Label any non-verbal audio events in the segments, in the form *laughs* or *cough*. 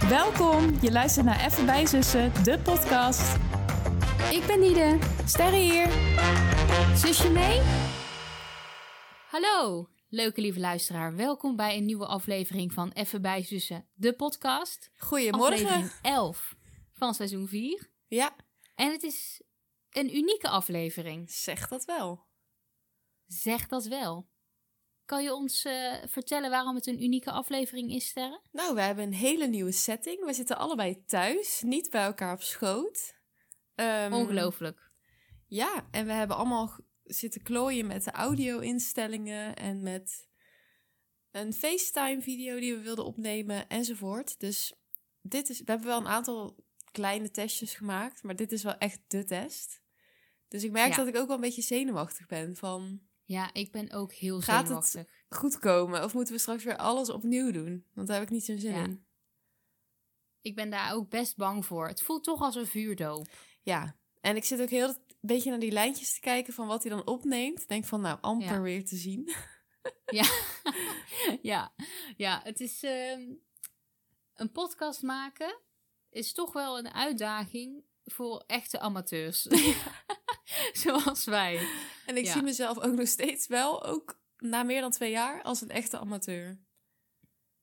Welkom, je luistert naar Even bij Zussen, de podcast. Ik ben Nide. Sterre hier. Zusje mee? Hallo, leuke lieve luisteraar. Welkom bij een nieuwe aflevering van Even bij Zussen, de podcast. Goedemorgen. Aflevering 11 van seizoen 4. Ja, En het is een unieke aflevering. zeg dat wel. Zeg dat wel. Kan je ons eh, vertellen waarom het een unieke aflevering is, Sterre? Nou, we hebben een hele nieuwe setting. We zitten allebei thuis, niet bij elkaar op schoot. Ehm, Ongelooflijk. Ja, en we hebben allemaal g- zitten klooien met de audio-instellingen en met een FaceTime-video die we wilden opnemen enzovoort. Dus dit is, we hebben wel een aantal kleine testjes gemaakt, maar dit is wel echt de test. Dus ik merk Ja. dat ik ook wel een beetje zenuwachtig ben van Ja, ik ben ook heel Gaat het- zenuwachtig. goed komen of moeten we straks weer alles opnieuw doen? Want daar heb ik niet zo'n zin Ja. in. Ik ben daar ook best bang voor. Het voelt toch als een vuurdoop. Ja, en ik zit ook heel een beetje naar die lijntjes te kijken van wat hij dan opneemt. Denk van nou amper Ja. weer te zien. Ja, ja. ja het is ehm, een podcast maken is toch wel een uitdaging voor echte *laughs* amateurs. *laughs* Zoals wij. En ik Ja. zie mezelf ook nog steeds wel, ook na meer dan twee jaar, als een echte amateur.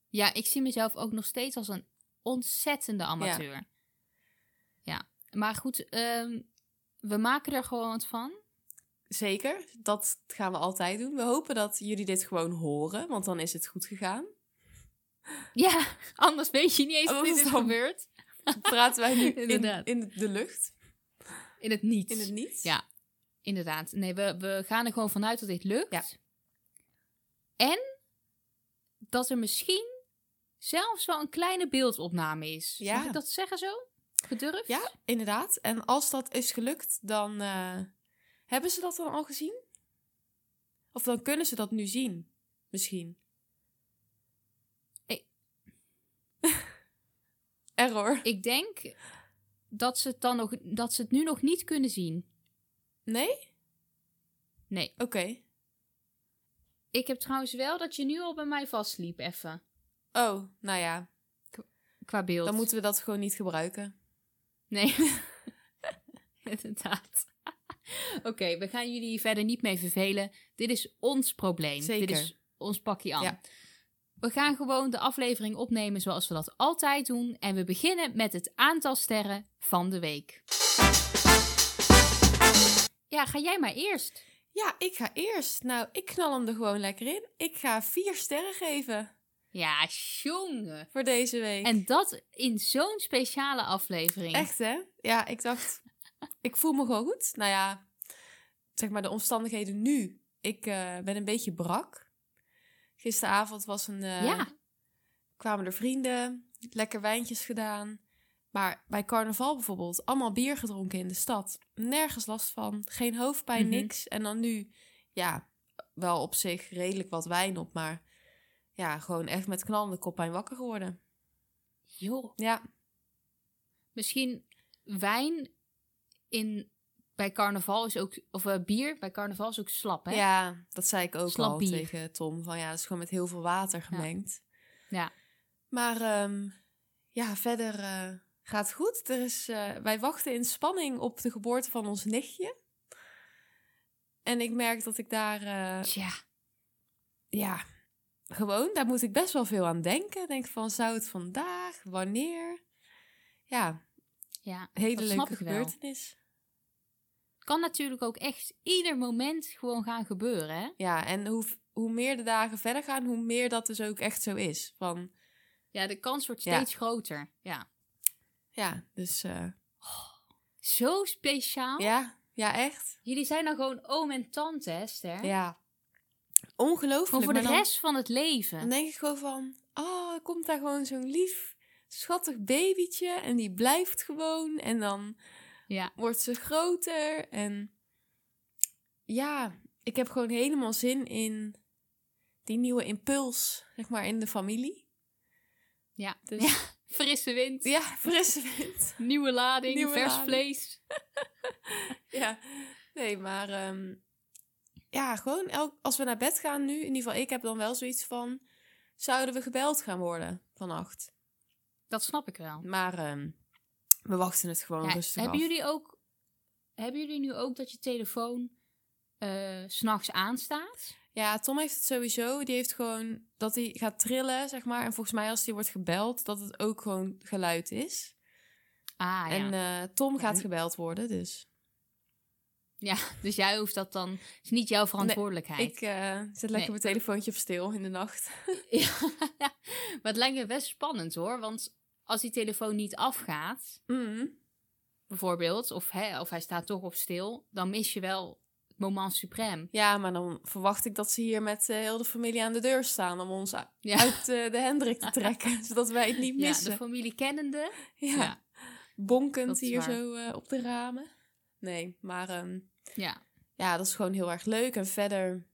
Ja, ik zie mezelf ook nog steeds als een ontzettende amateur. Ja, maar goed, ehm, we maken er gewoon wat van. Zeker, dat gaan we altijd doen. We hopen dat jullie dit gewoon horen, want dan is het goed gegaan. Ja, *laughs* anders weet je niet eens wat Anders dit is dan- gebeurd. Dan praten *laughs* wij nu in, Inderdaad. in de lucht, In het niets. in het niets. Ja. Inderdaad. Nee, we, we gaan er gewoon vanuit dat dit lukt. Ja. En dat er misschien zelfs wel een kleine beeldopname is. Ja. Mag ik dat zeggen zo? Gedurfd? Ja, inderdaad. En als dat is gelukt, dan eh, hebben ze dat dan al gezien? Of dan kunnen ze dat nu zien, misschien. Ik- *laughs* Error. Ik denk dat ze, het dan nog, dat ze het nu nog niet kunnen zien. Nee? Nee. Oké. Ik heb trouwens wel dat je nu al bij mij vastliep even. Oh, nou ja. Qua beeld. Dan moeten we dat gewoon niet gebruiken. Nee. *laughs* Inderdaad. *laughs* Oké, we gaan jullie hier verder niet mee vervelen. Dit is ons probleem. Zeker. Dit is ons pakje aan. Ja. We gaan gewoon de aflevering opnemen zoals we dat altijd doen. En we beginnen met het aantal sterren van de week. Ja, ga jij maar eerst. Ja, ik ga eerst. Nou, ik knal hem er gewoon lekker in. Ik ga vier sterren geven Ja, jongen. voor deze week. En dat in zo'n speciale aflevering. Echt, hè? Ja, ik dacht, ik voel me gewoon goed. Nou ja, zeg maar de omstandigheden nu. Ik eh, ben een beetje brak. Gisteravond was een, eh, Ja. kwamen er vrienden, lekker wijntjes gedaan. Maar bij carnaval bijvoorbeeld, allemaal bier gedronken in de stad. Nergens last van, geen hoofdpijn, Mhm. niks. En dan nu, ja, wel op zich redelijk wat wijn op, maar ja, gewoon echt met knallende koppijn wakker geworden. Joh. Ja, misschien wijn in, bij carnaval is ook, of eh, bier bij carnaval is ook slap, hè? Ja, dat zei ik ook Slap al bier. tegen Tom. Van ja, het is gewoon met heel veel water gemengd. Ja. Maar ehm, ja, verder eh, gaat goed. Er is, eh, wij wachten in spanning op de geboorte van ons nichtje. En ik merk dat ik daar, eh, Tja, ja, gewoon, daar moet ik best wel veel aan denken. Denk van, zou het vandaag, wanneer? Ja, ja. hele Dat snap leuke ik wel. gebeurtenis. Kan natuurlijk ook echt ieder moment gewoon gaan gebeuren, hè? Ja, en hoe, hoe meer de dagen verder gaan, hoe meer dat dus ook echt zo is. Van, Ja, de kans wordt Ja. steeds groter. Ja. Ja, dus eh, Zo speciaal. ja, ja, echt. Jullie zijn dan gewoon oom en tante, hè, Ster? Ja. Ongelooflijk. Gewoon voor de maar dan- rest van het leven. Dan denk ik gewoon van, oh, er komt daar gewoon zo'n lief, schattig babytje en die blijft gewoon en dan Ja. wordt ze groter en ja, ik heb gewoon helemaal zin in die nieuwe impuls, zeg maar, in de familie. Ja. Dus Ja. *laughs* Frisse wind, *laughs* ja, frisse wind. nieuwe lading, Nieuwe vers lading. vlees. *laughs* Ja, nee, maar ehm, ja, gewoon elk, als we naar bed gaan nu, in ieder geval ik heb dan wel zoiets van, zouden we gebeld gaan worden vannacht? Dat snap ik wel. Maar ehm, we wachten het gewoon Ja, rustig hebben af. jullie ook... Hebben jullie nu ook dat je telefoon eh, s s'nachts aanstaat? Ja, Tom heeft het sowieso. Die heeft gewoon dat hij gaat trillen, zeg maar. En volgens mij als hij wordt gebeld, dat het ook gewoon geluid is. Ah, en ja. eh, Tom gaat en- gebeld worden, dus. eh, Dus jij hoeft dat dan... Het is niet jouw verantwoordelijkheid. Ik eh, zet lekker Nee. mijn telefoontje op stil in de nacht. *laughs* Ja, *laughs* maar het lijkt me best spannend hoor. Want als die telefoon niet afgaat, Mhm. bijvoorbeeld, of, hè, of hij staat toch op stil, dan mis je wel het moment suprême. Ja, maar dan verwacht ik dat ze hier met eh, heel de familie aan de deur staan om ons u- Ja. uit eh, de Hendrik *laughs* te trekken, zodat wij het niet Ja, de missen. familie kennende. Ja, Ja, bonkend dat is hier waar. zo eh, op de ramen. Nee, maar ehm, ja. ja, dat is gewoon heel erg leuk. En verder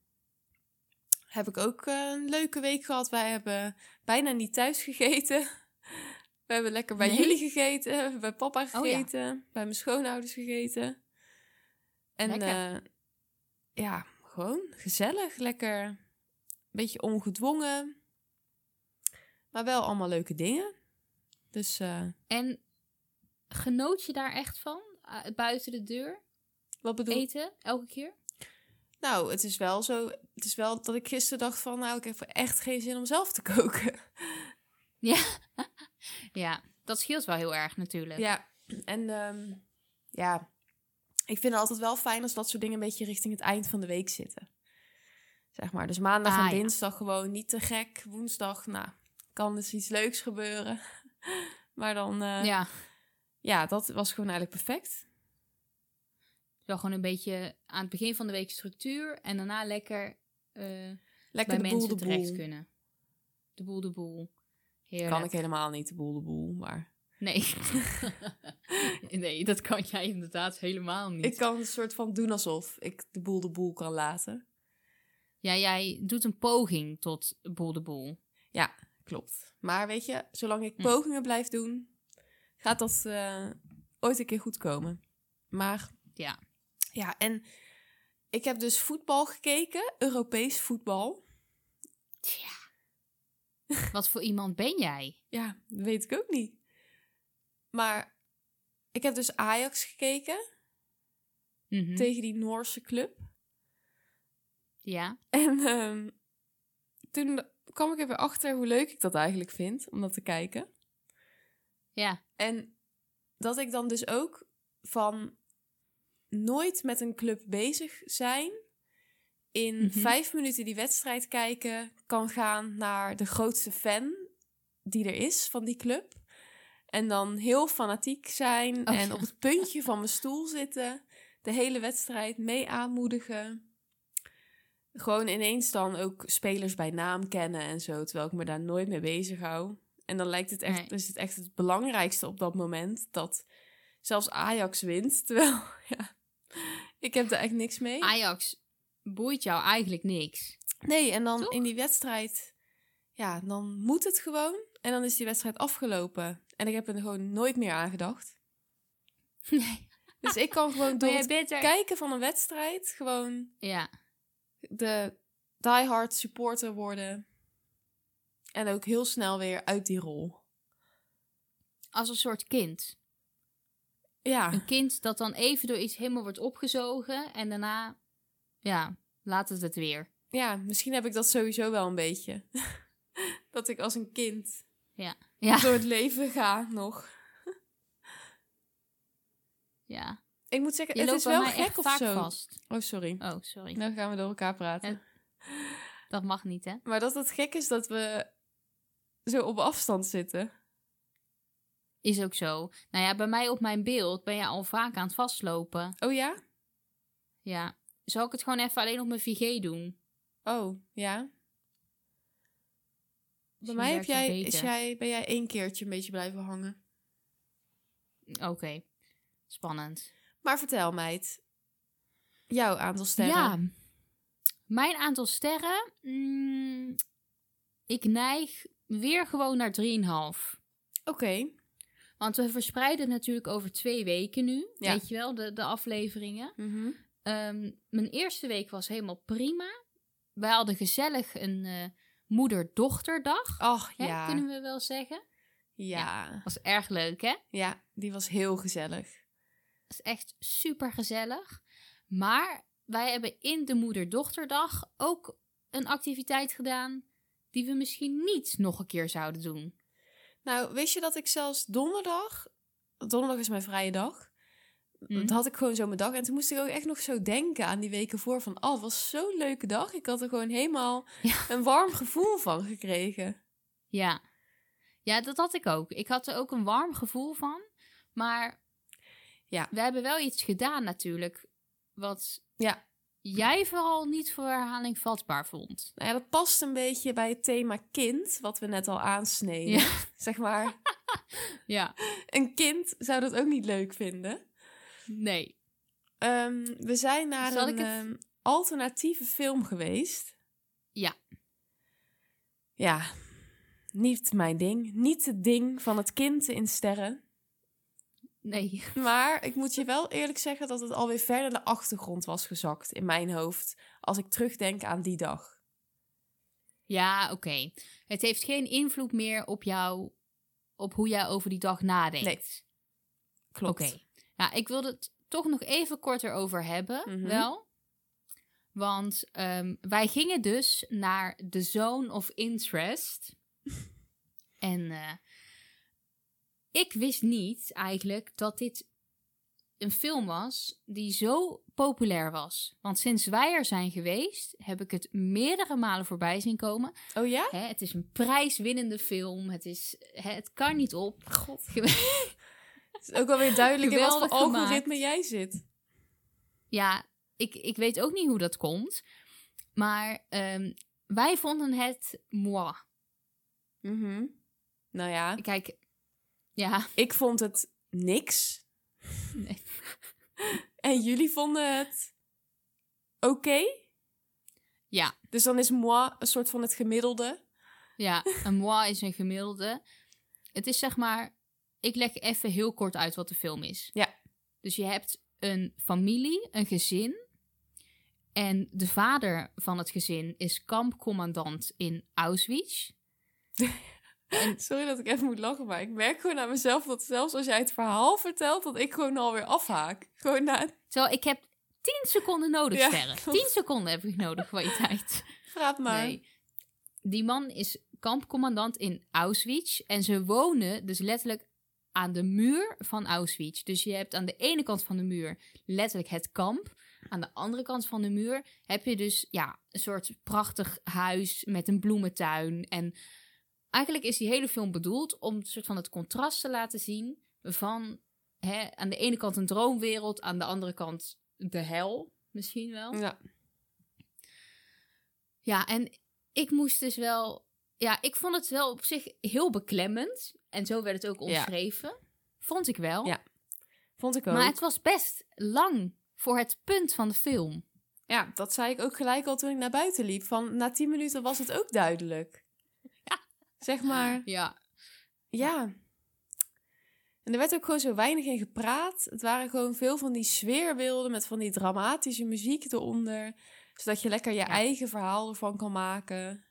heb ik ook eh, een leuke week gehad. Wij hebben bijna niet thuis gegeten. *laughs* We hebben lekker bij Nee? Oh jullie gegeten, bij papa ja. gegeten, bij mijn schoonouders gegeten. En Lekker. eh, ja, gewoon gezellig, lekker, een beetje ongedwongen, maar wel allemaal leuke dingen. Dus eh, En genoot je daar echt van? Uh, Buiten de deur wat bedoel eten, elke keer? Nou, het is wel zo. Het is wel dat ik gisteren dacht van, nou, ik heb echt geen zin om zelf te *laughs* koken. Ja, dat scheelt wel heel erg natuurlijk. Ja, en ehm, ja, ik vind het altijd wel fijn als dat soort dingen een beetje richting het eind van de week zitten. Zeg maar, dus maandag Ah, en ja. dinsdag gewoon niet te gek. Woensdag, nou, kan dus iets leuks gebeuren. *laughs* maar dan, eh, ja. ja. dat was gewoon eigenlijk perfect. Wel gewoon een beetje aan het begin van de week structuur en daarna lekker eh, Lekker bij de boel mensen de terecht boel. kunnen. De boel de boel. Heerlijk. Kan ik helemaal niet de boel de boel, maar... Nee. *laughs* nee, dat kan jij inderdaad helemaal niet. Ik kan een soort van doen alsof ik de boel de boel kan laten. Ja, jij doet een poging tot boel de boel. Klopt. Maar weet je, zolang ik Hm. pogingen blijf doen, gaat dat eh, ooit een keer goed komen. Maar Ja. ja, en ik heb dus voetbal gekeken, Europees voetbal. Tja. Wat voor iemand ben jij? Ja, dat weet ik ook niet. Maar ik heb dus Ajax gekeken Mhm. tegen die Noorse club. Ja. En ehm, toen kwam ik er weer achter hoe leuk ik dat eigenlijk vind om dat te kijken. Ja. En dat ik dan dus ook van nooit met een club bezig zijn, in Mhm. vijf minuten die wedstrijd kijken, kan gaan naar de grootste fan die er is van die club. En dan heel fanatiek zijn Oh, en ja. op het puntje van mijn stoel zitten, de hele wedstrijd mee aanmoedigen. Gewoon ineens dan ook spelers bij naam kennen en zo, terwijl ik me daar nooit mee bezig hou. En dan lijkt het echt, Nee. is het echt het belangrijkste op dat moment dat zelfs Ajax wint. *laughs* Terwijl, ja, ik heb daar echt niks mee. Ajax boeit jou eigenlijk niks. Nee, en dan Toch? in die wedstrijd, ja, dan moet het gewoon. En dan is die wedstrijd afgelopen. En ik heb er gewoon nooit meer aan gedacht. Nee. Dus ik kan gewoon door *laughs* Maar jij het bent er... kijken van een wedstrijd gewoon *laughs* Ja. de diehard supporter worden. En ook heel snel weer uit die rol. Als een soort kind. Ja, Een kind dat dan even door iets helemaal wordt opgezogen en daarna... Ja, laat het het weer. ja, misschien heb ik dat sowieso wel een beetje. *laughs* dat ik als een kind Ja. door het leven ga nog. Ja. Ik moet zeggen, Je het loopt is bij wel mij gek echt of vaak zo. vast. Oh, sorry. Oh, sorry. Nou gaan we door elkaar praten. Ja. Dat mag niet, hè? Maar dat het gek is dat we zo op afstand zitten. Is ook zo. Nou ja, bij mij op mijn beeld ben je al vaak aan het vastlopen. Oh ja? Ja. Zal ik het gewoon even alleen op mijn VG doen? Oh, ja. Bij Misschien mij heb werkt Dus het jij, is beter. jij, ben jij één keertje een beetje blijven hangen. Oké. Spannend. Maar vertel meid, jouw aantal sterren. Ja. Mijn aantal sterren. mm, ik neig weer gewoon naar 3,5. Oké. Want we verspreiden het natuurlijk over twee weken nu. Ja. Weet je wel, de, de afleveringen. Mhm. Ehm, mijn eerste week was helemaal prima. Wij hadden gezellig een eh, moeder-dochterdag. Ach Hè, ja. kunnen we wel zeggen. Ja. Was erg leuk, hè? ja, die was heel gezellig. is echt super gezellig. Maar wij hebben in de moeder-dochterdag ook een activiteit gedaan die we misschien niet nog een keer zouden doen. Nou, wist je dat ik zelfs donderdag... Donderdag is mijn vrije dag. Hm? Dat had ik gewoon zo mijn dag. En toen moest ik ook echt nog zo denken aan die weken voor. Van, oh, het was zo'n leuke dag. Ik had er gewoon helemaal Ja. een warm gevoel van gekregen. Ja. ja, dat had ik ook. Ik had er ook een warm gevoel van. Maar Ja. we hebben wel iets gedaan natuurlijk. Wat Ja. jij vooral niet voor herhaling vatbaar vond. Nou ja, dat past een beetje bij het thema kind, wat we net al aansneden. Ja. Zeg maar, Ja, een kind zou dat ook niet leuk vinden. nee. Ehm, we zijn naar Zal een ik het- ehm, alternatieve film geweest. Ja. Ja, niet mijn ding. Niet het ding van het kind in sterren. Nee. Maar ik moet je wel eerlijk zeggen dat het alweer verder de achtergrond was gezakt in mijn hoofd. Als ik terugdenk aan die dag. Ja, oké. Het heeft geen invloed meer op jou, op hoe jij over die dag nadenkt. Nee. Klopt. Oké. Ja, ik wil het toch nog even kort erover hebben, Mhm. wel. Want ehm, wij gingen dus naar de Zone of *laughs* Interest. en eh, ik wist niet eigenlijk dat dit een film was die zo populair was. Want sinds wij er zijn geweest, heb ik het meerdere malen voorbij zien komen. Oh ja? Hè, het is een prijswinnende film. Het, is, hè, het kan niet op. God. Ge- Het is ook alweer duidelijk in wat voor Geweldig gemaakt. algoritme jij zit. Ja, ik, ik weet ook niet hoe dat komt. Maar ehm, wij vonden het moi. Mhm. Nou ja, Kijk, ja, *laughs* ik vond het niks. nee. En jullie vonden het oké? ja, Dus dan is moi een soort van het gemiddelde. ja, een moi is een gemiddelde. Het is zeg maar, ik leg even heel kort uit wat de film is. Ja. Dus je hebt een familie, een gezin. En de vader van het gezin is kampcommandant in Auschwitz. Sorry dat ik even moet lachen, maar ik merk gewoon aan mezelf dat zelfs als jij het verhaal vertelt, dat ik gewoon alweer afhaak. Gewoon na, Terwijl ik heb 10 seconden nodig, Ja, *laughs* Sterre. klopt. 10 seconden heb ik nodig van je tijd. praat maar. Nee. Die man is kampcommandant in Auschwitz. En ze wonen dus letterlijk aan de muur van Auschwitz. Dus je hebt aan de ene kant van de muur letterlijk het kamp. Aan de andere kant van de muur heb je dus ja, een soort prachtig huis met een bloementuin. En eigenlijk is die hele film bedoeld om een soort van het contrast te laten zien van hè, aan de ene kant een droomwereld, aan de andere kant de hel misschien wel. Ja. Ja, en ik moest dus wel. Ja, ik vond het wel op zich heel beklemmend. En zo werd het ook Ja. omschreven. Vond ik wel. Ja, Vond ik ook. maar het was best lang voor het punt van de film. Ja, dat zei ik ook gelijk al toen ik naar buiten liep. Van na tien minuten was het ook duidelijk. Ja. Zeg maar, Ja. ja. En er werd ook gewoon zo weinig in gepraat. Het waren gewoon veel van die sfeerbeelden met van die dramatische muziek eronder. Zodat je lekker je eigen verhaal ervan kan maken.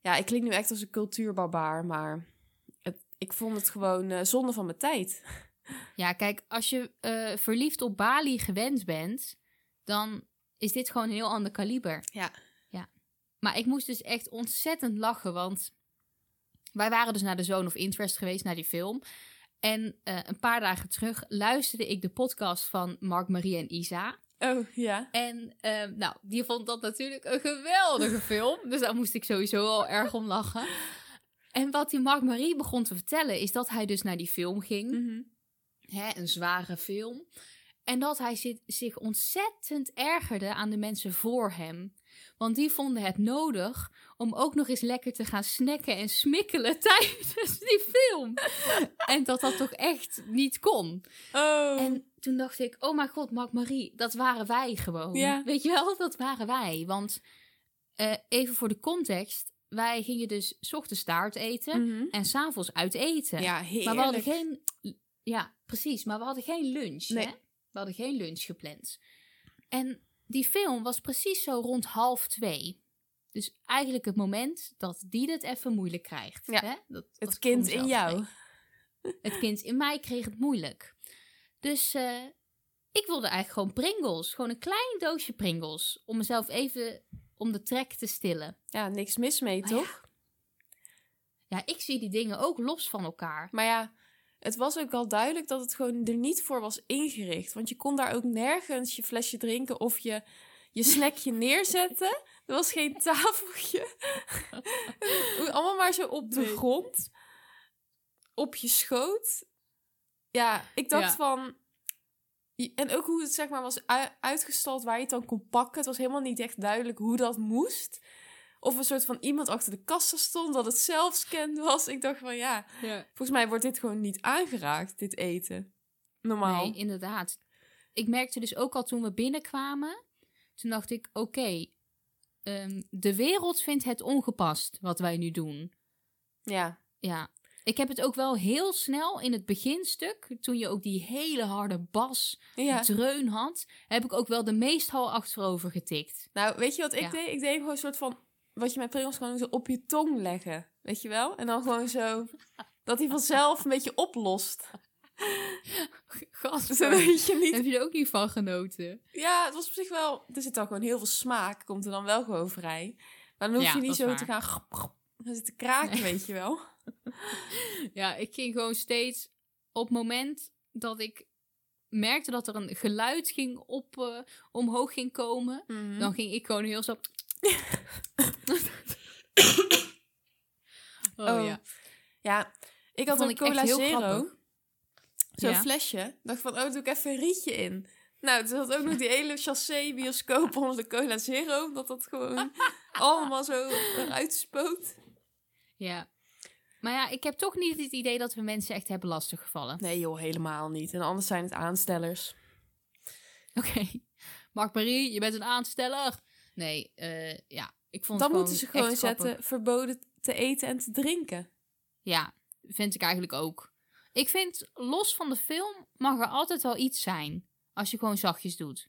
Ja, ik klink nu echt als een cultuurbarbaar, maar het, ik vond het gewoon eh, zonde van mijn tijd. Ja, kijk, als je eh, verliefd op Bali gewend bent, dan is dit gewoon een heel ander kaliber. Ja. ja. Maar ik moest dus echt ontzettend lachen, want wij waren dus naar de Zone of Interest geweest, naar die film. En eh, een paar dagen terug luisterde ik de podcast van Mark, Marie en Isa. Oh, ja. En ehm, nou, die vond dat natuurlijk een geweldige *laughs* film. Dus daar moest ik sowieso al erg om lachen. En wat die Mark Marie begon te vertellen, is dat hij dus naar die film Mhm. ging. Hè, een zware film. En dat hij zi- zich ontzettend ergerde aan de mensen voor hem. Want die vonden het nodig om ook nog eens lekker te gaan snacken en smikkelen *laughs* tijdens die film. En dat dat toch echt niet kon. Oh, En toen dacht ik, oh mijn god, Mark Marie, dat waren wij gewoon. Ja. Weet je wel, dat waren wij. Want eh, even voor de context, wij gingen dus 's ochtends taart eten Mhm. en s'avonds uit eten. ja, heerlijk. maar we hadden geen, ja, precies, maar we hadden geen lunch. Nee. Hè? We hadden geen lunch gepland. En die film was precies zo rond half twee. Dus eigenlijk het moment dat die het even moeilijk krijgt. Ja. Hè? Dat, dat Het ik kind voor mezelf in jou. spreek. Het kind in mij kreeg het moeilijk. Dus eh, ik wilde eigenlijk gewoon Pringles. Gewoon een klein doosje Pringles. Om mezelf even om de trek te stillen. Ja, niks mis mee, Maar ja. toch? Ja, ik zie die dingen ook los van elkaar. Maar ja, het was ook wel duidelijk dat het gewoon er niet voor was ingericht. Want je kon daar ook nergens je flesje drinken of je, je *laughs* snackje neerzetten. Er was geen tafeltje. *laughs* Allemaal maar zo op de Nee. grond. Op je schoot. Ja, ik dacht Ja. van... En ook hoe het zeg maar was u- uitgestald waar je het dan kon pakken. Het was helemaal niet echt duidelijk hoe dat moest. Of een soort van iemand achter de kassa stond dat het zelfscan was. Ik dacht van ja, Volgens mij wordt dit gewoon niet aangeraakt, dit eten. Normaal. Nee, inderdaad. Ik merkte dus ook al toen we binnenkwamen. Toen dacht ik, oké, ehm, de wereld vindt het ongepast wat wij nu doen. Ja. Ja. Ik heb het ook wel heel snel in het beginstuk, toen je ook die hele harde bas, ja. dreun had, heb ik ook wel de meestal achterover *laughs* getikt. Nou, weet je wat ik Ja. deed? Ik deed gewoon een soort van... Wat je met Pringles gewoon zo op je tong leggen. Weet je wel? En dan gewoon *laughs* zo... Dat hij vanzelf een beetje oplost. Gast, Dus dan *laughs* weet je niet... heb je er ook niet van genoten? Ja, het was op zich wel... Er zit dan gewoon heel veel smaak. Komt er dan wel gewoon vrij. Maar dan hoef Ja, je niet dat is zo waar. te gaan... *laughs* grap, grap, gaan zitten kraken, Nee. weet je *laughs* wel? Ja, ik ging gewoon steeds op het moment dat ik merkte dat er een geluid ging op, eh, omhoog ging komen, Hm? dan ging ik gewoon *coughs* heel zo. oh, Oh, ja. Ja, ik had Vond een ik echt cola heel zero. grappig. Zo'n Ja. flesje. Dacht van, oh, doe ik even een rietje in. Nou, er zat ook nog die hele chassé bioscoop onder de cola zero. Omdat dat *laughs* gewoon allemaal zo eruit spoot. ja. Maar ja, ik heb toch niet het idee dat we mensen echt hebben lastiggevallen. Nee joh, helemaal niet. En anders zijn het aanstellers. *laughs* Oké. Mark-Marie, je bent een aansteller. Nee, eh, ja. Ik vond Dan het moeten ze gewoon echt grappig. zetten, verboden te eten en te drinken. Ja, vind ik eigenlijk ook. Ik vind, los van de film mag er altijd wel iets zijn. Als je gewoon zachtjes doet.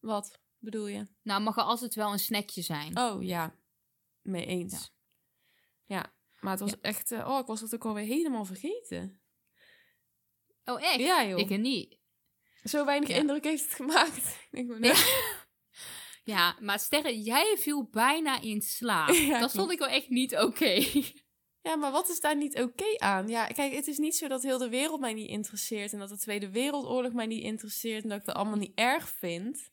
Wat bedoel je? Nou, mag er altijd wel een snackje zijn. Oh ja, mee eens. Ja, maar het was echt... eh, oh, ik was dat ook alweer helemaal vergeten. Oh, echt? Ja, joh. Ik er niet. Zo weinig Ja. indruk heeft het gemaakt. *laughs* Ik denk gewoon, Ja. Ja, maar Sterre, jij viel bijna in slaap. *laughs* Ja, dat vond klopt. ik wel echt niet oké. *laughs* Ja, maar wat is daar niet oké aan? Ja, kijk, het is niet zo dat heel de wereld mij niet interesseert en dat de Tweede Wereldoorlog mij niet interesseert en dat ik dat allemaal niet erg vind.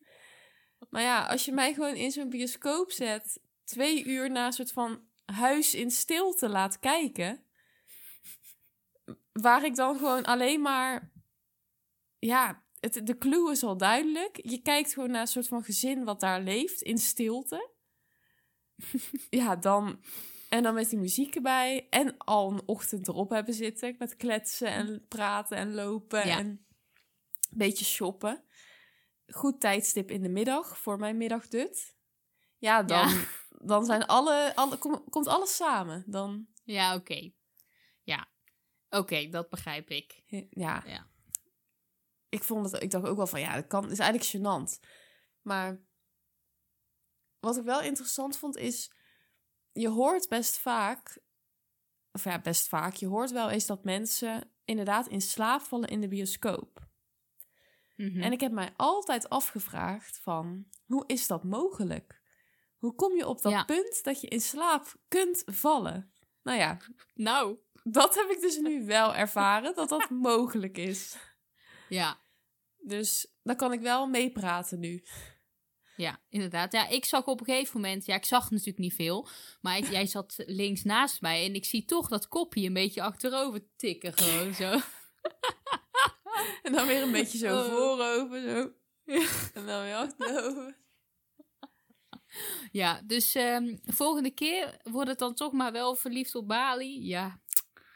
Maar ja, als je mij gewoon in zo'n bioscoop zet, twee uur na een soort van huis in stilte laat kijken, waar ik dan gewoon alleen maar, ja, het, de clue is al duidelijk. Je kijkt gewoon naar een soort van gezin wat daar leeft in stilte. *laughs* ja, dan, en dan met die muziek erbij. En al een ochtend erop hebben zitten. Met kletsen en praten en lopen. Ja. En een beetje shoppen. Goed tijdstip in de middag. Voor mijn middagdut. Ja, dan, Ja. dan zijn alle, alle, kom- komt alles samen. Dan, Ja, oké. Ja, oké, dat begrijp ik. ja. Ja. Ik, vond het, ik dacht ook wel van, ja, dat kan, is eigenlijk gênant. Maar wat ik wel interessant vond is, je hoort best vaak, of ja, best vaak, je hoort wel eens dat mensen inderdaad in slaap vallen in de bioscoop. Mhm. En ik heb mij altijd afgevraagd van, hoe is dat mogelijk? Hoe kom je op dat Ja. punt dat je in slaap kunt vallen? Nou ja, Nou, dat heb ik dus nu wel ervaren, dat *laughs* dat mogelijk is. ja, Dus daar kan ik wel meepraten nu. *laughs* ja, inderdaad. Ja, ik zag op een gegeven moment, ja, ik zag natuurlijk niet veel, maar ik- jij zat links naast mij en ik zie toch dat kopje een beetje achterover tikken, gewoon zo. En dan weer een beetje *laughs* zo Oh. voorover, zo. En dan weer *laughs* achterover. Ja, dus ehm, volgende keer wordt het dan toch maar wel verliefd op Bali. Ja,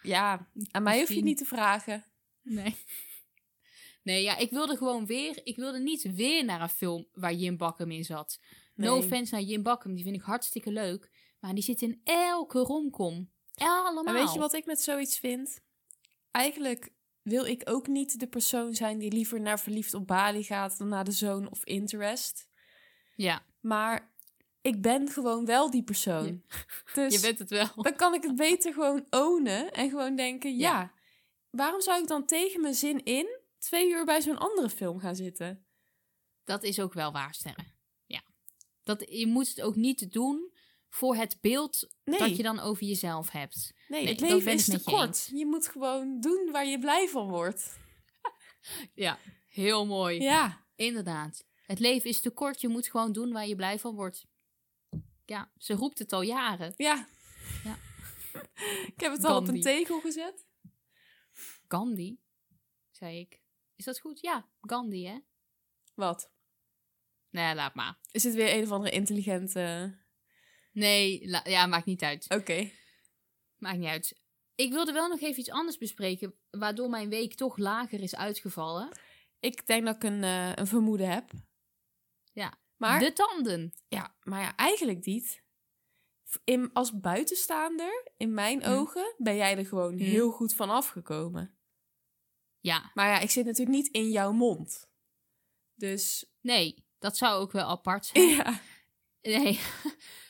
Ja, aan mij hoef je het Misschien. niet te vragen. Nee. Nee, ja, ik wilde gewoon weer... Ik wilde niet weer naar een film waar Jim Bakkum in zat. No Nee. offense naar Jim Bakkum, die vind ik hartstikke leuk. Maar die zit in elke romcom. Allemaal. En weet je wat ik met zoiets vind? Eigenlijk wil ik ook niet de persoon zijn die liever naar verliefd op Bali gaat dan naar de zoon of interest. Ja, Maar ik ben gewoon wel die persoon. *laughs* Dus Je bent het wel. *laughs* dan kan ik het beter gewoon ownen en gewoon denken, ja. waarom zou ik dan tegen mijn zin in twee uur bij zo'n andere film gaan zitten? Dat is ook wel waar, Sterre. Ja. Dat, je moet het ook niet doen voor het beeld Nee, dat je dan over jezelf hebt. nee, nee, het dat leven ben ik is te met je kort. eens. Je, moet gewoon doen waar je blij van wordt. Ja, heel mooi. Ja, Inderdaad. Het leven is te kort. Je moet gewoon doen waar je blij van wordt. Ja, ze roept het al jaren. ja. Ja. *laughs* ik heb het al op een Gandhi. tegel gezet. Gandhi, zei ik. Is dat goed? Ja, Gandhi, hè? Wat? Nee, laat maar. Is het weer een of andere intelligente... Nee, la- ja, maakt niet uit. Oké. Maakt niet uit. Ik wilde wel nog even iets anders bespreken, waardoor mijn week toch lager is uitgevallen. Ik denk dat ik een, eh, een vermoeden heb. Ja. Maar, De tanden. ja, maar ja, eigenlijk niet. In, als buitenstaander, in mijn Hm. ogen, ben jij er gewoon Hm. heel goed van afgekomen. Ja, Maar ja, ik zit natuurlijk niet in jouw mond. Dus nee, dat zou ook wel apart zijn. *laughs* ja, *laughs* Nee,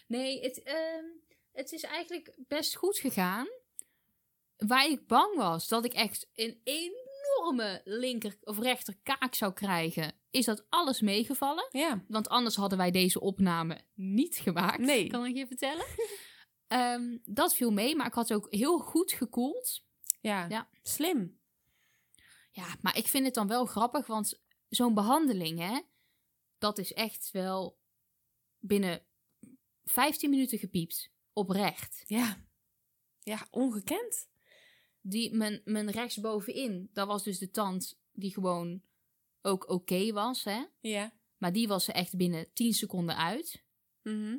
nee het, ehm, het is eigenlijk best goed gegaan. Waar ik bang was dat ik echt een enorme linker of rechter kaak zou krijgen, is dat alles meegevallen. ja. Want anders hadden wij deze opname niet gemaakt. Nee. Kan ik je vertellen? Ehm, dat viel mee, maar ik had ook heel goed gekoeld. Ja. Ja. slim. Ja, maar ik vind het dan wel grappig, want zo'n behandeling, hè, dat is echt wel binnen 15 minuten gepiept. Oprecht. Ja. ja, ongekend. Die, mijn, mijn rechtsbovenin, dat was dus de tand die gewoon ook oké was, hè. Ja. Maar die was er echt binnen 10 seconden uit. Mhm.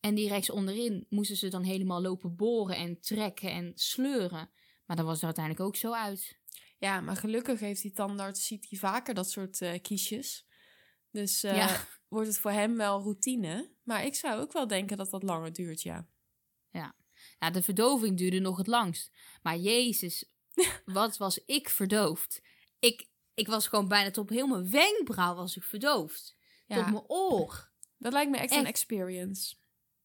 En die rechts onderin moesten ze dan helemaal lopen boren en trekken en sleuren. Maar dat was er uiteindelijk ook zo uit. Ja, maar gelukkig heeft die tandarts, ziet hij vaker dat soort eh, kiesjes. Dus eh, Ja. wordt het voor hem wel routine. Maar ik zou ook wel denken dat dat langer duurt, ja. Ja, Nou, de verdoving duurde nog het langst. Maar Jezus, *laughs* wat was ik verdoofd? Ik, ik was gewoon bijna tot op heel mijn wenkbrauw was ik verdoofd. Tot ja mijn oor. dat lijkt me echt, een echt. *coughs* experience.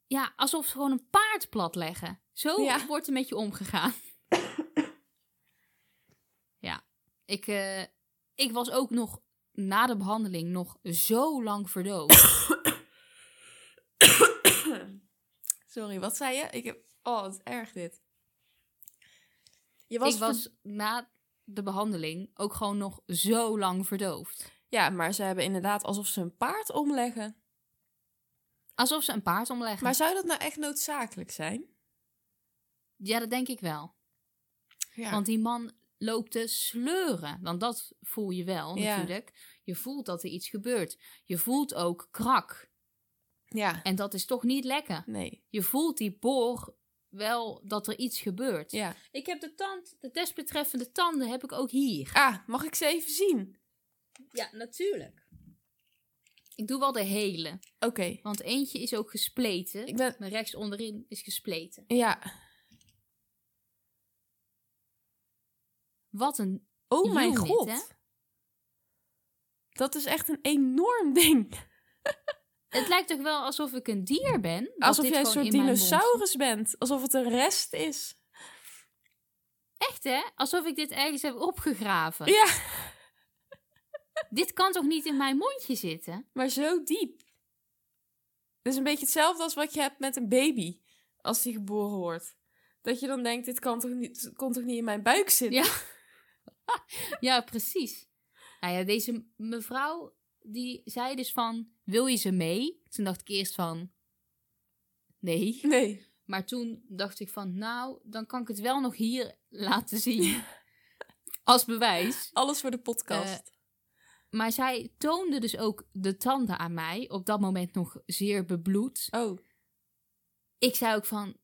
Ja, alsof ze gewoon een paard plat leggen. Zo Ja. wordt er met je omgegaan. *coughs* ja, ik, eh, ik was ook nog na de behandeling nog zo lang verdoofd. Sorry, wat zei je? Ik heb... Oh, wat erg dit. Je ik ver- was na de behandeling ook gewoon nog zo lang verdoofd. Ja, maar ze hebben inderdaad alsof ze een paard omleggen. Alsof ze een paard omleggen. Maar zou dat nou echt noodzakelijk zijn? Ja, dat denk ik wel. Ja. Want die man loopt te sleuren. Want dat voel je wel Ja. natuurlijk. Je voelt dat er iets gebeurt. Je voelt ook krak. ja. En dat is toch niet lekker. Nee. Je voelt die boor wel dat er iets gebeurt. Ja. Ik heb de tand, de desbetreffende tanden heb ik ook hier. Ah, mag ik ze even zien? Ja, natuurlijk. Ik doe wel de hele. Oké. Want eentje is ook gespleten. Ik ben... Mijn rechts onderin is gespleten. Ja. Wat een... Oh Unit, mijn god. hè? Dat is echt een enorm ding. Het lijkt toch wel alsof ik een dier ben? dat Alsof dit jij een gewoon soort in mijn mond zit. dinosaurus bent. Alsof het een rest is. Echt hè? Alsof ik dit ergens heb opgegraven. Ja, Dit kan toch niet in mijn mondje zitten? maar zo diep. Het is een beetje hetzelfde als wat je hebt met een baby. Als die geboren wordt. Dat je dan denkt, dit kan toch niet, dit kon toch niet in mijn buik zitten? Ja. Ja, precies. Nou ja, deze mevrouw die zei dus van, wil je ze mee? Toen dacht ik eerst van, nee. *laughs* Nee. Maar toen dacht ik van, nou, dan kan ik het wel nog hier laten *laughs* zien. Als bewijs. Alles voor de podcast. Eh, Maar zij toonde dus ook de tanden aan mij. Op dat moment nog zeer bebloed. oh. ik zei ook van,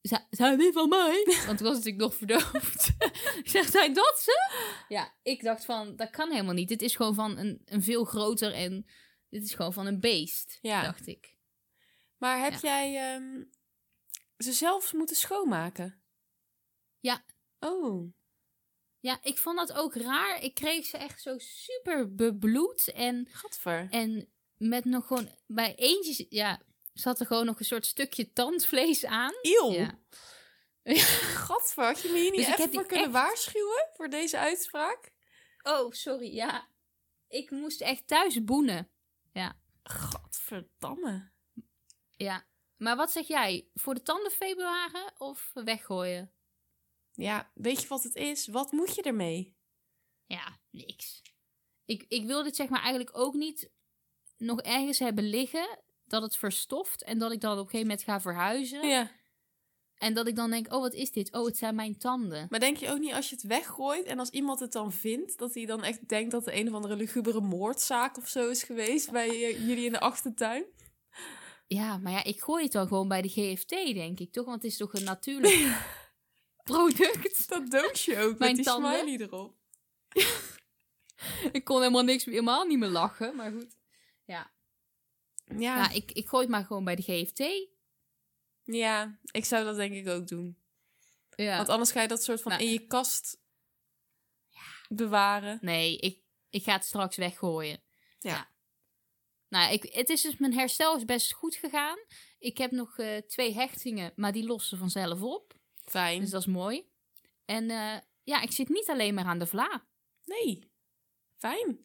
"Z- zijn die van mij? Want toen was natuurlijk nog verdoofd. *laughs* ik zeg, zijn dat ze? Ja, ik dacht van, dat kan helemaal niet. Dit is gewoon van een, een veel groter en dit is gewoon van een beest, Ja. dacht ik. Maar heb jij ehm, ze zelfs moeten schoonmaken? Ja. Oh. Ja, ik vond dat ook raar. Ik kreeg ze echt zo super bebloed en, Gadver. en met nog gewoon bij eentje, ja, zat er gewoon nog een soort stukje tandvlees aan. Eeuw! Ja. *laughs* Gadver, had je me hier niet Dus ik heb even die voor kunnen echt- waarschuwen voor deze uitspraak? Oh, sorry, ja. Ik moest echt thuis boenen. Gadverdamme. Ja. Maar wat zeg jij? Voor de tanden bewaren of weggooien? Ja, weet je wat het is? Wat moet je ermee? Ja, niks. Ik, ik wil dit zeg maar eigenlijk ook niet nog ergens hebben liggen dat het verstoft en dat ik dan op een gegeven moment ga verhuizen. Ja. En dat ik dan denk, oh wat is dit? Oh, het zijn mijn tanden. Maar denk je ook niet als je het weggooit en als iemand het dan vindt, dat hij dan echt denkt dat er een of andere lugubere moordzaak of zo is geweest bij eh, jullie in de achtertuin? Ja, maar ja, ik gooi het dan gewoon bij de GFT, denk ik toch? Want het is toch een natuurlijk *laughs* product? Dat doosje ook Mijn met die tanden? smiley erop. Ik kon helemaal niks, helemaal niet meer lachen, maar goed. Ja, Ja, ik, ik gooi het maar gewoon bij de GFT. ja, ik zou dat denk ik ook doen. Ja. Want anders ga je dat soort van Nou. in je kast bewaren. Nee, ik, ik ga het straks weggooien. Ja. Nou, ik, het is dus, mijn herstel is best goed gegaan. Ik heb nog eh, twee hechtingen, maar die lossen vanzelf op. Fijn. Dus dat is mooi. En eh, ja, ik zit niet alleen maar aan de vla. Nee, fijn.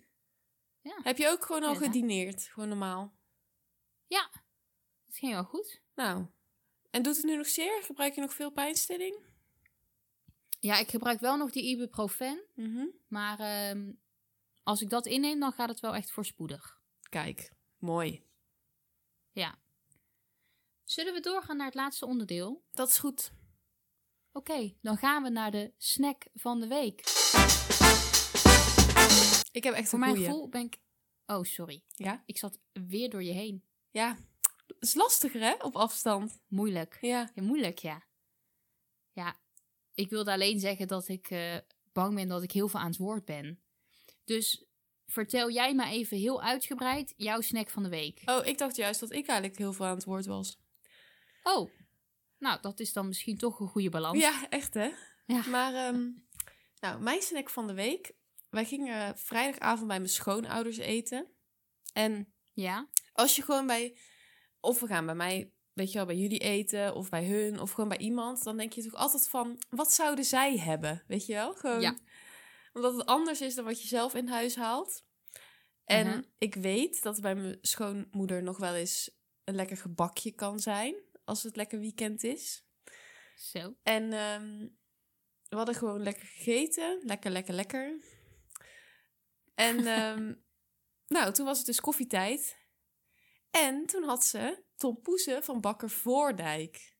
Ja. Heb je ook gewoon al Ja, hè? gedineerd? Gewoon normaal. Het ging wel goed. Nou, en doet het nu nog zeer? Gebruik je nog veel pijnstilling? Ja, ik gebruik wel nog die ibuprofen. Maar ehm, als ik dat inneem, dan gaat het wel echt voorspoedig. Kijk, mooi. Zullen we doorgaan naar het laatste onderdeel? Dat is goed. Oké, dan gaan we naar de snack van de week. Ik heb echt Voor een mijn goeie. gevoel ben ik... Oh, sorry. Ja? Ik zat weer door je heen. Ja, is lastiger hè, op afstand. Moeilijk. Ja. Ja, moeilijk, ja. Ja, ik wilde alleen zeggen dat ik eh, bang ben dat ik heel veel aan het woord ben. Dus vertel jij maar even heel uitgebreid jouw snack van de week. Oh, ik dacht juist dat ik eigenlijk heel veel aan het woord was. Oh, nou, dat is dan misschien toch een goede balans. Ja, echt hè? Ja. Maar, ehm, nou, mijn snack van de week. Wij gingen vrijdagavond bij mijn schoonouders eten. En Ja? als je gewoon bij... Of we gaan bij mij, weet je wel, bij jullie eten. Of bij hun, of gewoon bij iemand. Dan denk je toch altijd van, wat zouden zij hebben? Weet je wel? Gewoon, Ja. Omdat het anders is dan wat je zelf in huis haalt. En Mhm. ik weet dat bij mijn schoonmoeder nog wel eens een lekker gebakje kan zijn. Als het lekker weekend is. Zo. En ehm, we hadden gewoon lekker gegeten. Lekker, lekker, lekker. En ehm, nou, toen was het dus koffietijd. En toen had ze Tom Poezen van Bakker Voordijk.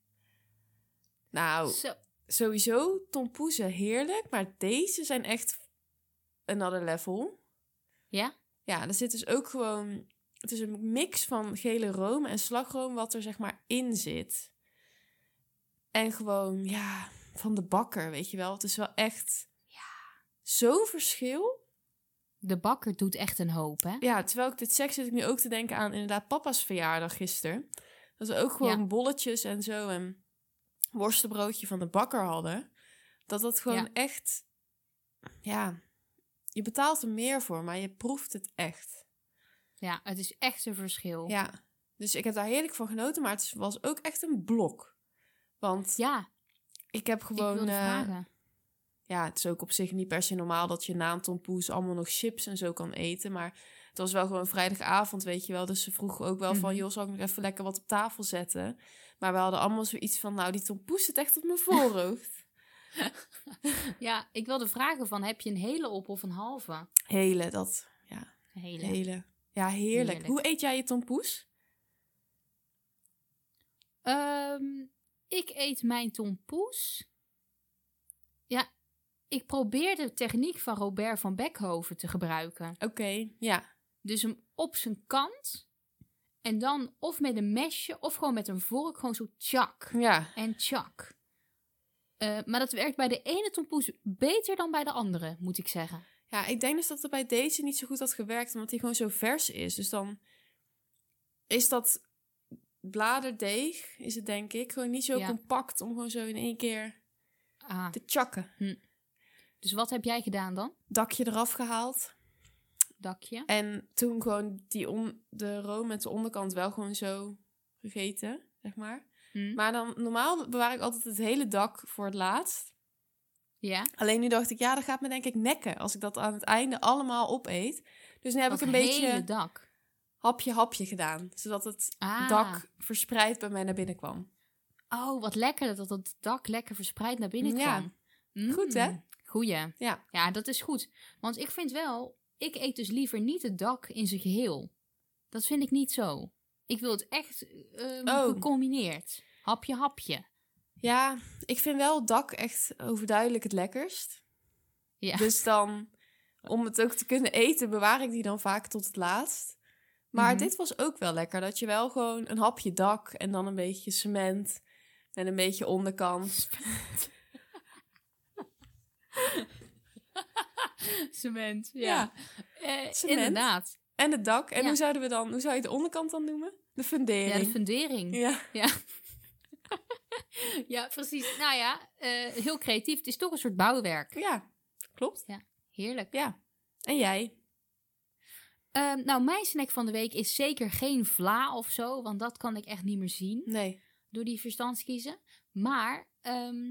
Nou, Zo. sowieso Tom Poezen heerlijk, maar deze zijn echt another level. Ja? Ja, er zit dus ook gewoon... Het is een mix van gele room en slagroom wat er zeg maar in zit. En gewoon, ja, van de bakker, weet je wel. Het is wel echt zo'n verschil. De bakker doet echt een hoop, hè? Ja, terwijl ik dit zeg, zit ik nu ook te denken aan inderdaad papa's verjaardag gisteren. Dat we ook gewoon Ja. bolletjes en zo en worstenbroodje van de bakker hadden. Dat dat gewoon Ja. echt, ja, je betaalt er meer voor, maar je proeft het echt. Ja, het is echt een verschil. Ja, dus ik heb daar heerlijk van genoten, maar het was ook echt een blok. Want Ja, ik heb ik gewoon... wilde eh, vragen. ja, het is ook op zich niet per se normaal dat je na een tompoes allemaal nog chips en zo kan eten. Maar het was wel gewoon vrijdagavond, weet je wel. Dus ze vroegen ook wel van, Mhm. joh, zal ik nog even lekker wat op tafel zetten? Maar we hadden allemaal zoiets van, nou, die tompoes zit echt op mijn *laughs* voorhoofd. Ja, ik wilde vragen van, heb je een hele op of een halve? Hele, dat. Een hele. Hele. Ja, heerlijk. Heerlijk. Hoe eet jij je tompoes? Ehm, ik eet mijn tompoes. Ja, ik probeer de techniek van Robert van Beckhoven te gebruiken. Oké, ja. Dus hem op zijn kant. En dan of met een mesje of gewoon met een vork. Gewoon zo tjak Ja. en tjak. Eh, maar dat werkt bij de ene tompoes beter dan bij de andere, moet ik zeggen. Ja, ik denk dus dat het bij deze niet zo goed had gewerkt, omdat die gewoon zo vers is. Dus dan is dat bladerdeeg, is het denk ik, gewoon niet zo Ja. compact om gewoon zo in één keer Ah, te chakken. dus wat heb jij gedaan dan? Dakje eraf gehaald. Dakje? En toen gewoon die on de room met de onderkant wel gewoon zo gegeten, zeg maar. Hm? Maar dan, normaal bewaar ik altijd het hele dak voor het laatst. Ja? Alleen nu dacht ik, ja, dat gaat me denk ik nekken als ik dat aan het einde allemaal opeet. Dus nu heb Dat ik een hele beetje dak. hapje-hapje gedaan, zodat het Ah. dak verspreid bij mij naar binnen kwam. Oh, wat lekker dat dat dak lekker verspreid naar binnen Ja. kwam. Mm. Goed, hè? Goeie. Ja. Ja, dat is goed. Want ik vind wel, ik eet dus liever niet het dak in zijn geheel. Dat vind ik niet zo. Ik wil het echt ehm, Oh. gecombineerd. Hapje, hapje. Ja, ik vind wel het dak echt overduidelijk het lekkerst. Ja. Dus dan, om het ook te kunnen eten, bewaar ik die dan vaak tot het laatst. Maar Mhm. dit was ook wel lekker, dat je wel gewoon een hapje dak en dan een beetje cement en een beetje onderkant. *laughs* Cement, Ja. Eh, Cement. Inderdaad. En het dak. En Ja. hoe zouden we dan, hoe zou je de onderkant dan noemen? De fundering. Ja, de fundering. Ja, Ja. precies. Nou ja, eh, heel creatief. Het is toch een soort bouwwerk. Ja, klopt. Heerlijk. Ja. En jij? Ehm, nou, mijn snack van de week is zeker geen vla of zo, want dat kan ik echt niet meer zien Nee. door die verstandskiezen. Maar ehm,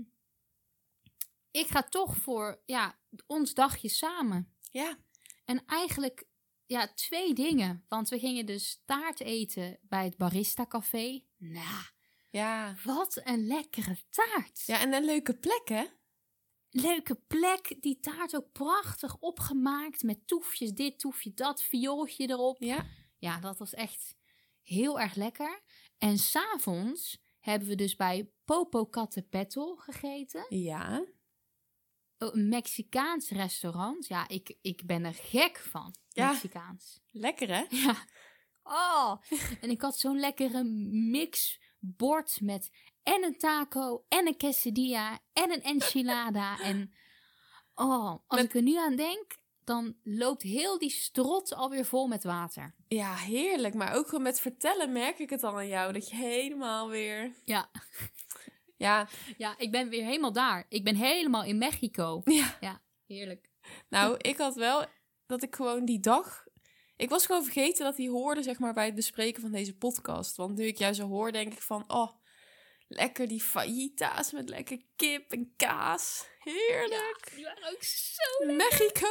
ik ga toch voor ja, ons dagje samen. Ja. En eigenlijk ja, twee dingen, want we gingen dus taart eten bij het Barista Café. Nou, Ja. wat een lekkere taart! Ja, en een leuke plek, hè? leuke plek. Die taart ook prachtig opgemaakt met toefjes dit, toefje dat, viooltje erop. Ja. Ja, dat was echt heel erg lekker. En s'avonds hebben we dus bij Popo Catepetl gegeten. Oh, Ja. Een Mexicaans restaurant. Ja, ik, ik ben er gek van. Ja. Mexicaans. Lekker, hè? Ja. Oh, en ik had zo'n lekkere mixbord met en een taco en een quesadilla en een *laughs* enchilada. En oh, als Met- ik er nu aan denk, dan loopt heel die strot alweer vol met water. Ja, heerlijk. Maar ook gewoon met vertellen merk ik het al aan jou. Dat je helemaal weer... Ja, Ja, ja ik ben weer helemaal daar. Ik ben helemaal in Mexico. Ja. Ja, heerlijk. nou, ik had wel dat ik gewoon die dag... Ik was gewoon vergeten dat hij hoorde, zeg maar, bij het bespreken van deze podcast. Want nu ik jou zo hoor, denk ik van... Oh, lekker die fajitas met lekker kip en kaas. Heerlijk. Ja, die waren ook zo... Mexico.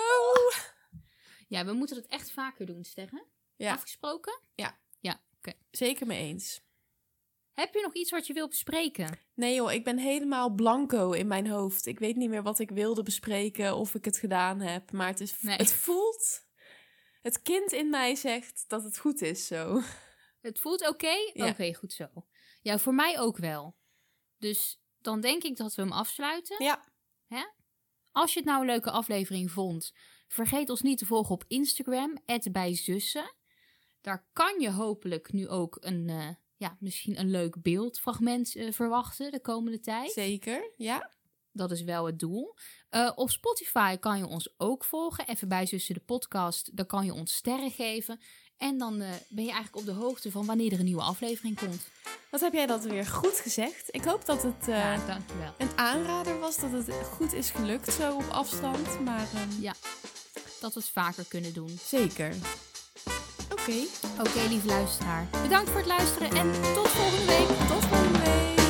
Ja, we moeten dat echt vaker doen, Sterren. Ja. Afgesproken? Zeker mee eens. Heb je nog iets wat je wil bespreken? Nee joh, ik ben helemaal blanco in mijn hoofd. Ik weet niet meer wat ik wilde bespreken of ik het gedaan heb. Maar het, is, Nee. het voelt... Het kind in mij zegt dat het goed is zo. Het voelt oké? Ja. Oké, goed zo. Ja, voor mij ook wel. Dus dan denk ik dat we hem afsluiten. Ja. Als je het nou een leuke aflevering vond, vergeet ons niet te volgen op Instagram, @bijzussen. Daar kan je hopelijk nu ook een, eh, ja, misschien een leuk beeldfragment eh, verwachten de komende tijd. Zeker, ja. Dat is wel het doel. Eh, op Spotify kan je ons ook volgen. Even bij Zussen de Podcast. Daar kan je ons sterren geven. En dan eh, ben je eigenlijk op de hoogte van wanneer er een nieuwe aflevering komt. Wat heb jij dat weer goed gezegd. Ik hoop dat het eh, Ja, dankjewel. een aanrader was, dat het goed is gelukt zo op afstand. Maar ehm, Ja, dat we het vaker kunnen doen. zeker. Oké, Oké, lieve luisteraar. Bedankt voor het luisteren en tot volgende week. tot volgende week.